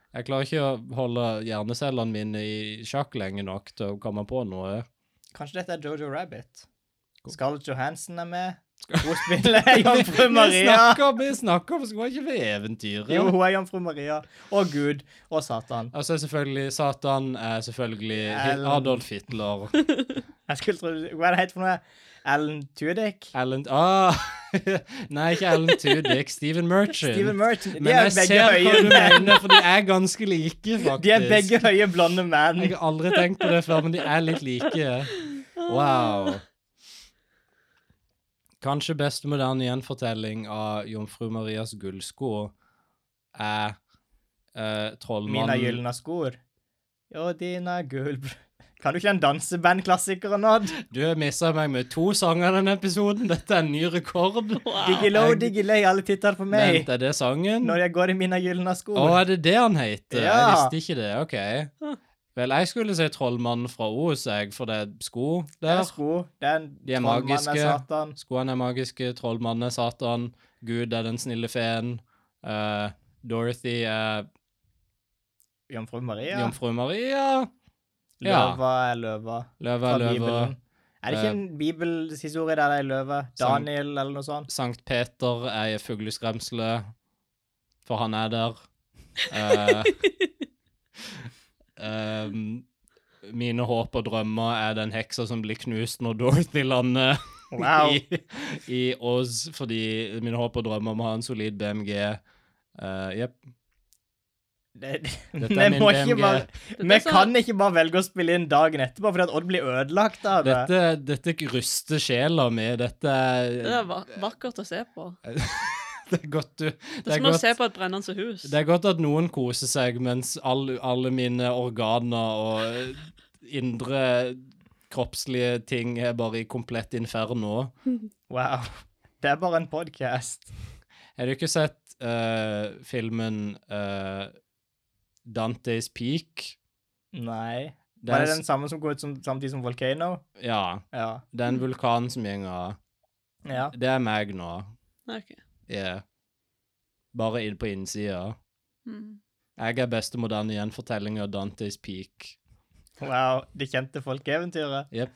S1: Jeg klarer ikke å holde hjernecellene mine i sjakk lenge nok til å komme på noe.
S2: Kanskje dette er Jojo Rabbit? Scarlett Johansen er med. Hun
S1: [LAUGHS]
S2: spiller Jomfru
S1: Vi
S2: Maria.
S1: snakker, vi snakker om Skal ikke vi eventyret?
S2: Jo, hun er Jomfru Maria. Og Gud. Og Satan.
S1: Altså selvfølgelig Satan er selvfølgelig Hit-
S2: Ellen.
S1: Adolf Hitler.
S2: Jeg skulle tro Hva er det het for noe? Alan Tudyk?
S1: Alan ah, [LAUGHS] Nei, ikke Alan Tudyk. Steven Merchant.
S2: Steven Merchant. De
S1: Men
S2: er
S1: jeg
S2: begge
S1: ser hva du
S2: høye menn.
S1: mener, for de er ganske like,
S2: [LAUGHS]
S1: faktisk.
S2: De er begge høye, blonde menn.
S1: Jeg har aldri tenkt på det før, men de er litt like. Wow. Kanskje best moderne gjenfortelling av Jomfru Marias gullsko er eh,
S2: Mina
S1: trollmannen
S2: gylne skor. Og dina gulbr... Kan du ikke den dansebandklassikeren, Odd?
S1: Du har missa meg med to sanger denne episoden. Dette er en ny rekord.
S2: Diggilo, diggilei, alle titter på meg.
S1: Ah, Vent, er det sangen?
S2: Når jeg går i mina gylne
S1: Å,
S2: skor.
S1: er det det han heter? Jeg
S2: Ja.
S1: visste ikke det. OK. Vel, jeg skulle si Trollmannen fra Os, jeg, for det er sko
S2: Det
S1: der.
S2: er sko. Det er en
S1: De er
S2: trollmann, en
S1: magiske.
S2: Satan.
S1: Skoene er magiske, trollmannen er Satan, Gud er den snille feen, eh, Dorothy er
S2: Jomfru Maria.
S1: jomfru Maria, Ja.
S2: Løva er løva.
S1: løva
S2: Fra
S1: Eh, er løva,
S2: Bibelen. Er det ikke en bibelhistorie der det er løve?
S1: Sankt-
S2: Daniel eller noe sånt?
S1: Sankt Peter er i fugleskremsle, for han
S2: [LAUGHS]
S1: er der. Eh, ehm, mine håp og drømmer er den heksa som blir knust når Dorothy lander.
S2: Wow.
S1: [LAUGHS] i, i Oz, fordi mine håp og drømmer om å ha en solid BMG. Eh, Jepp.
S2: Det,
S1: Dette
S2: [LAUGHS] vi
S1: er min
S2: må ikke
S1: BMG.
S2: bare, vi
S3: er så-
S2: kan ikke bare velge å spille inn dagen etterpå fordi at Odd blir ødelagt av det.
S1: Dette, dette ryster sjela mi. Dette
S3: Det er
S1: er,
S3: va- vakkert å se på.
S1: det er godt du
S3: Det
S1: det
S3: er
S1: er
S3: som å
S1: godt,
S3: se på et brennende hus.
S1: det er godt at noen koser seg, mens all, alle mine organer og indre kroppslige ting er bare i komplett inferno.
S2: Wow. Det er bare en podkast.
S1: Har du ikke sett eh, filmen eh, Dantes Peak?
S2: Nei.
S1: Det
S2: Var
S1: er,
S2: det den
S1: s-
S2: samme som går ut som, samtidig som Volcano?
S1: ja,
S2: Ja.
S1: det er en vulkan som gjenger.
S2: ja.
S1: Det er meg nå.
S3: Ok.
S1: Yeah. Bare inn på innsida.
S3: Mm.
S1: Jeg er beste moderne gjenfortelling av Dantes Peak.
S2: Wow. De kjente folkeeventyret.
S1: Jepp.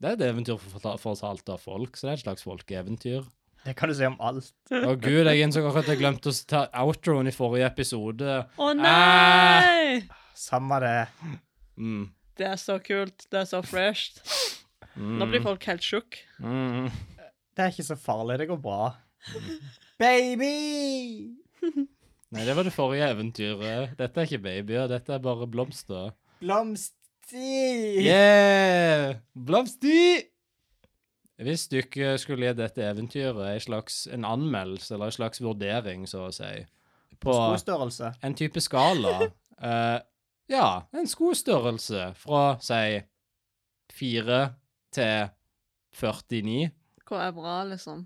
S1: Det er et eventyr for- forta- fortalt av folk, så det er et slags folkeeventyr.
S2: Det kan du si om alt.
S1: Å gud, jeg innså akkurat at jeg glemte å ta outroen i forrige episode.
S3: Å nei!
S2: Samme det.
S1: Mm.
S3: Det er så kult. Det er så fresht. Nå blir folk helt sjokk.
S1: Mm.
S2: Det er ikke så farlig. Det går
S1: [LAUGHS]
S2: bra. Baby!
S1: Nei, det var det forrige eventyret. Dette er ikke babyer, dette er bare blomster.
S2: Blomster!
S1: Yeah! Blomster! Hvis du ikke skulle gi dette eventyret en slags en anmeldelse, eller en slags vurdering, så å si, på
S2: Skostørrelse.
S1: en type skala. eh, ja, en skostørrelse fra, si, 4 til 49.
S3: Hva er bra, liksom?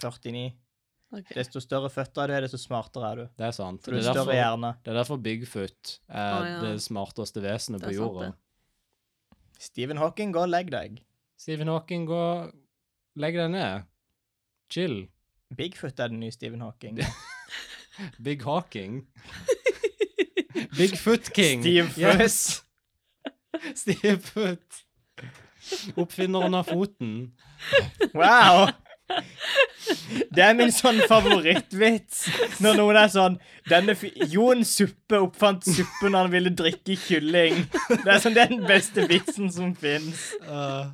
S2: 49.
S3: Ok.
S2: Desto større føtter du er, desto smartere er du.
S1: Det er sant.
S2: For du
S1: Det
S2: er
S1: er derfor,
S2: større hjerne.
S1: det er derfor Bigfoot er
S3: Å, ja.
S1: det smarteste vesenet
S3: Det er
S1: på
S3: sant,
S1: jorda.
S3: det.
S2: Stephen Hawking, gå og legg deg.
S1: Stephen Hawking, gå Legg deg ned. Chill.
S2: Bigfoot er den nye Stephen Hawking.
S1: Big Hawking. [LAUGHS] Bigfoot King.
S2: Steve Foot.
S1: Yes. [LAUGHS] Steve Foot. Oppfinneren av foten.
S2: Wow! Det er min sånn favorittvits. Når noen er sånn denne fi Jon Suppe oppfant suppe når han ville drikke kylling. Det er sånn det er den beste vitsen som fins.
S1: Uh,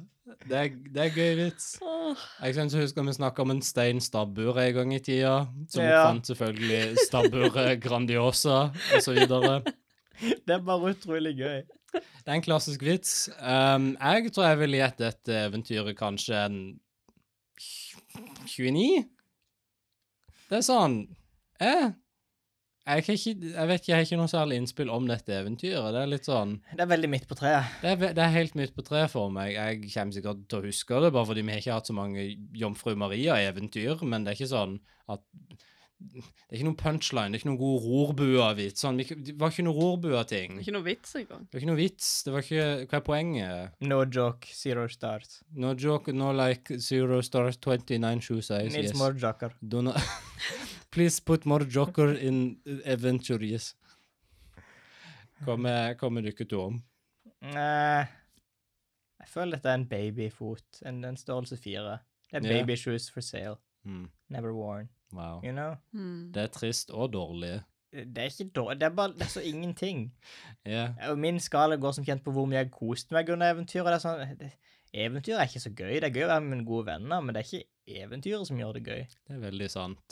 S1: det, er, det er gøy vits.
S3: Åh,
S1: Jeg synes jeg husker vi snakket om en stein stabbur en gang i tida, som
S2: Ja.
S1: fant selvfølgelig stabburet Grandiosa, og så videre.
S2: Det er bare utrolig gøy.
S1: Det er en klassisk vits. Um, jeg tror jeg ville gitt dette eventyret kanskje en 29? Det er sånn eh, jeg, kan ikke, jeg vet ikke, jeg har ikke noe særlig innspill om dette eventyret. Det er litt sånn
S2: Det er veldig midt på treet.
S1: Det er, ve- det er helt midt på treet for meg. Jeg kommer sikkert til å huske det, bare fordi vi har ikke hatt så mange Jomfru Maria-eventyr, men det er ikke sånn at Det er ikke noen punchline, det er ikke noen gode rorbuer-vits. Sånn, vi- det var ikke noen rorbuer-ting.
S3: ikke noe vits engang.
S1: Det var ikke noe vits. Det var ikke Hva er poenget?
S2: No joke, zero stars.
S1: No joke, no like, zero stars, 29 shoe size,
S2: Nils
S1: yes.
S2: more joker.
S1: Do not... [LAUGHS] Please put more joker in adventure, yes. Kommer kommer dere to om?
S2: Nei, jeg føler dette er en babyfot. En, en størrelse fire. Det er
S1: Ja.
S2: baby shoes for sale.
S1: Mm.
S2: Never worn.
S1: Wow.
S2: You know?
S3: Hmm.
S1: Det er trist og dårlig.
S2: Det er ikke dårlig. Det er bare det er så ingenting.
S1: Ja.
S2: Og min skala går som kjent på hvor mye jeg koste meg under eventyret. Det er sånn, det, eventyr er ikke så gøy. Det er gøy å være med mine gode venner, men det er ikke eventyret som gjør det gøy.
S1: Det er veldig sant.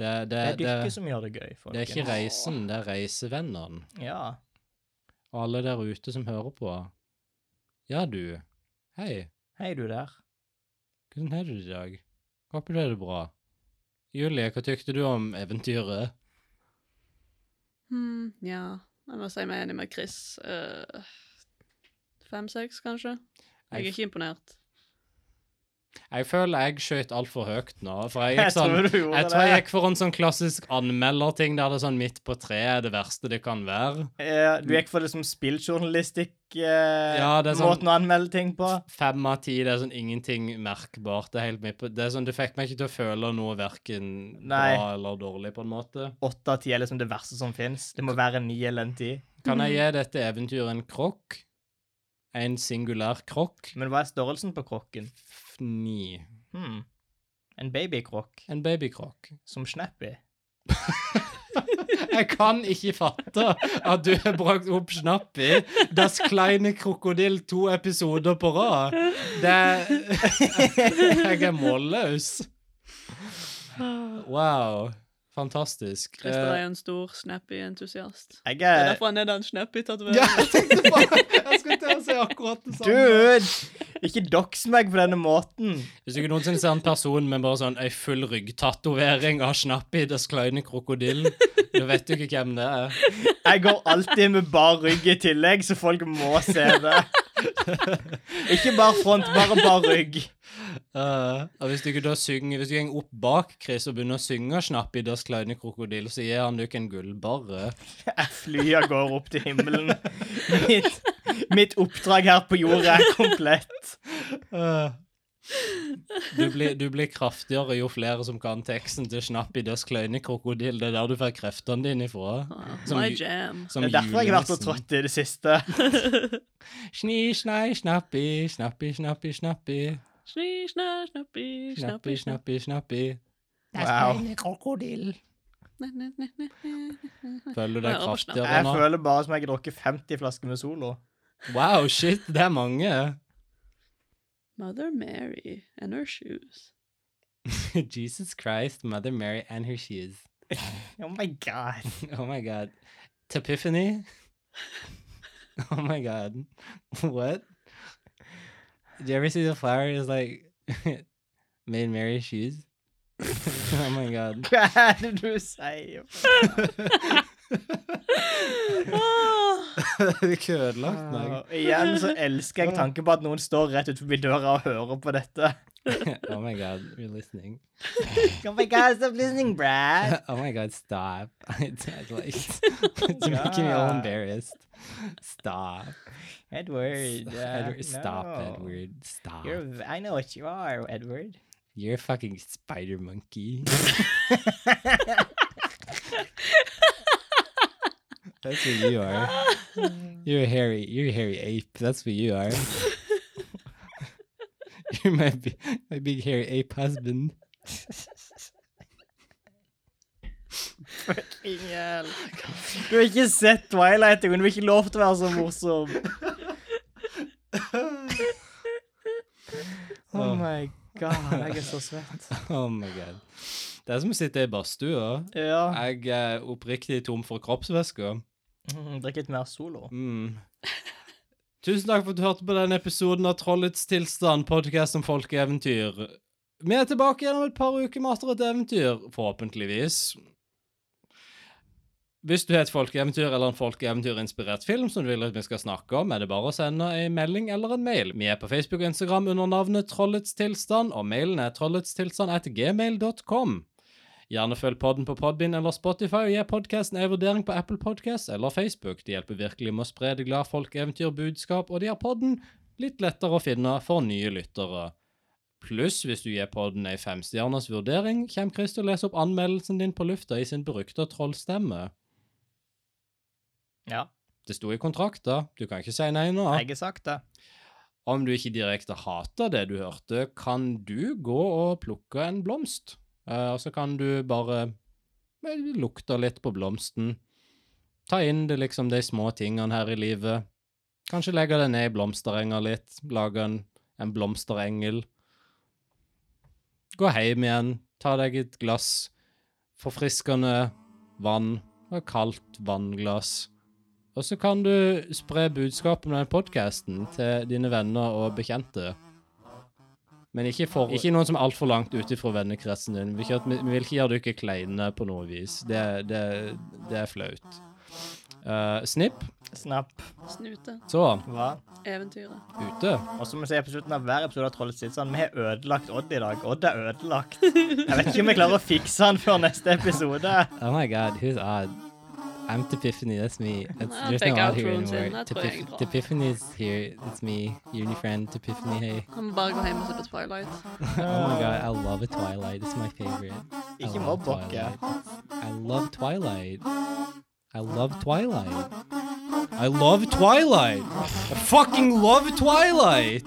S1: Det, det,
S2: Det er
S1: det,
S2: dyrket som gjør det gøy.
S1: det er ikke
S2: folkens.
S1: reisen, det er reisevennene.
S2: Ja.
S1: Og alle der ute som hører på. Ja, du. Hei.
S2: Hei, du der.
S1: Hvordan har du det i dag? Håper du har det bra. Julie, hva tykte du om eventyret?
S3: Hmm, ja. Jeg må si meg enig med Chris. Eh, Fem-seks, kanskje? Jeg er ikke imponert.
S1: Jeg føler jeg skjøt altfor høyt nå. For [LAUGHS]
S2: [LAUGHS]
S1: jeg
S2: Jeg
S1: gikk sånn
S2: tror du gjorde
S1: Jeg tror jeg
S2: det.
S1: gikk for en sånn klassisk anmelderting der det er sånn midt på treet er det verste det kan være.
S2: Eh, du gikk for det som spilljournalistikk-måten eh,
S1: Ja, det er sånn-
S2: måten å anmelde ting på.
S1: Fem av ti, det er sånn ingenting merkbart. Det er helt midt på Det er sånn, det fikk meg ikke til å føle noe verken
S2: Nei.
S1: bra eller dårlig, på en måte.
S2: Åtte av ti er liksom det verste som fins. Det må være en ni eller en ti.
S1: Kan jeg gi dette eventyret en krokk? En singulær krokk?
S2: Men hva er størrelsen på krokken?
S1: F- Ni.
S2: Hmm. En babykrokk
S1: En babykrokk.
S2: som Snappy.
S1: [LAUGHS] Jeg kan ikke fatte at du har brakt opp Snappi, Das kleine krokodill, to episoder på rad. Det Jeg er [LAUGHS] målløs. Wow. Fantastisk.
S3: Christer er en stor snappy-entusiast.
S2: Jeg
S3: Det er
S2: er
S3: derfor han er den snappy-tatoveren.
S1: Eh. [LAUGHS] Ja, jeg tenkte på Jeg skulle til å si akkurat det samme.
S2: Dude! Ikke dox meg på denne måten.
S1: Hvis du ikke noensinne ser en person med bare sånn ei full ryggtatovering av Snappi, Das kleine krokodill, da vet du ikke hvem det er.
S2: Jeg går alltid med bar rygg i tillegg, så folk må se det. Ikke bare front, bare bar rygg.
S1: Eh, og hvis du ikke da synger Hvis du går opp bak Chris og begynner å synge Snapp i Das kleine krokodill, så gir han deg ikke en gullbarre.
S2: Jeg flyr av gårde opp til himmelen. Mitt, mitt oppdrag her på jorda er komplett.
S1: Du, blir- du blir kraftigere jo flere som kan teksten til Snapp i Das kleine krokodill. Det er der du får kreftene dine ifra.
S3: Ah,
S1: Som
S3: My
S1: ju-
S3: jam. [LAUGHS]
S1: Som
S2: Det er derfor jeg har vært så
S1: julenissen.
S2: trøtt i det siste.
S1: Sni, snei, snappi, snappi, snappi, snappi.
S3: Sni, snæ, snappi,
S1: Snappi,
S3: snappi,
S1: snappi,
S3: snappi.
S1: snappi.
S2: Wow.
S3: Næ, næ, næ, næ, næ.
S1: Føler du
S3: Jeg
S1: deg
S3: hører på
S1: kraftigere
S2: Jeg
S1: nå?
S2: føler bare som jeg har drukket 50 flasker med Solo.
S1: Wow, shit, det er mange. [LAUGHS]
S3: Mother Mary and her shoes.
S1: Jesus Christ, Mother Mary and her shoes.
S2: Oh my god. [LAUGHS]
S1: [LAUGHS] Oh my god. Tepiphany? [LAUGHS] oh my god. What? Did you ever see the flower is like [LAUGHS] made Mary shoes? [LAUGHS] oh my
S2: [LAUGHS]
S1: god.
S2: Hva er det du sier?
S3: Ah,
S1: Ikke ødelagt meg.
S2: Og igjen så elsker jeg tanken på at noen står rett utenfor døra og hører på dette.
S1: [LAUGHS] Oh my god, we're listening.
S2: Oh my God, stop listening,
S1: [LAUGHS]
S2: Brad.
S1: Oh my god, stop. [LAUGHS] I don't like [LAUGHS] It's making me all
S2: God.
S1: embarrassed. Stop.
S2: Edward. uh,
S1: [LAUGHS] Edward, stop,
S2: no.
S1: Edward. Stop.
S2: You're,
S1: You're,
S2: v- I know what you are,
S1: [LAUGHS]
S2: Edward.
S1: a fucking spider monkey. That's what you
S2: [LAUGHS]
S1: are. You're a hairy, you're a hairy ape. That's what you are. [LAUGHS] you're my, bi- my big hairy ape husband.
S2: Ingel. Du har ikke sett Twilight, men du har ikke lov til å være så morsom.
S1: [LAUGHS]
S2: Oh my god, jeg er så svett.
S1: [LAUGHS] Oh my god. Det er som å sitte i badstua.
S2: Ja.
S1: Jeg er oppriktig tom for kroppsvæsker.
S2: Mm, Drikk litt mer solo.
S1: Mm. [LAUGHS] Tusen takk for at du hørte på denne episoden av Trollets tilstand, podkast om folkeeventyr. Vi er tilbake igjen om et par uker med atter et eventyr, forhåpentligvis. Hvis du har et folkeeventyr eller en folkeeventyrinspirert film som du vil at vi skal snakke om, er det bare å sende en melding eller en mail. Vi er på Facebook og Instagram under navnet Trollets tilstand, og mailen er trolletstilstand.gmail.com. Gjerne følg podden på Podbind eller Spotify og gi podkasten en vurdering på Apple Podcasts eller Facebook. Det hjelper virkelig med å spre det glade folkeeventyrbudskap, og de har podden litt lettere å finne for nye lyttere. Pluss, hvis du gir podden ei femstjerners vurdering, kommer Chris til å lese opp anmeldelsen din på lufta i sin berykta trollstemme.
S2: Ja,
S1: Det sto i kontrakta, du kan ikke si nei nå.
S2: jeg har sagt det.
S1: Om du ikke direkte hater det du hørte, kan du gå og plukke en blomst. Eh, og så kan du bare eh, lukte litt på blomsten. Ta inn det liksom de små tingene her i livet. Kanskje legge det ned i blomsterenga litt. Lage en, en blomsterengel. Gå hjem igjen. Ta deg et glass forfriskende vann. Og kaldt vannglass. Og så kan du spre budskapet med podkasten til dine venner og bekjente. Men ikke, for, ikke noen som er altfor langt ute fra vennekretsen din. Vi, vil ikke at- vi vil ikke gjøre dere kleine på noe vis. Det, det, det er flaut. Eh, snipp.
S2: Snapp.
S3: Snute.
S1: Så,
S2: Hva?
S3: Eventyret.
S1: ute.
S2: Og som vi sier på slutten av hver episode av Trollets tilstand, vi har ødelagt Odd i dag. Odd er ødelagt. [LAUGHS] Jeg vet ikke om vi klarer å fikse han før neste episode.
S1: Oh my god, who's odd? I'm Tiffany, that's me. That's,
S3: I'll
S1: there's
S3: take
S1: no odd
S3: out
S1: here
S3: runes in,
S1: anymore.
S3: that's what I draw.
S1: Tiffany's here, it's me, your new friend, Tiffany, hey.
S3: Han må bare gå hjem og se på Twilight.
S1: Oh my god, I love a Twilight. It's my favorite. I
S2: Ikke
S1: love
S2: mobb dere.
S1: Twilight. I love Twilight. I love Twilight. I love Twilight. I fucking love Twilight.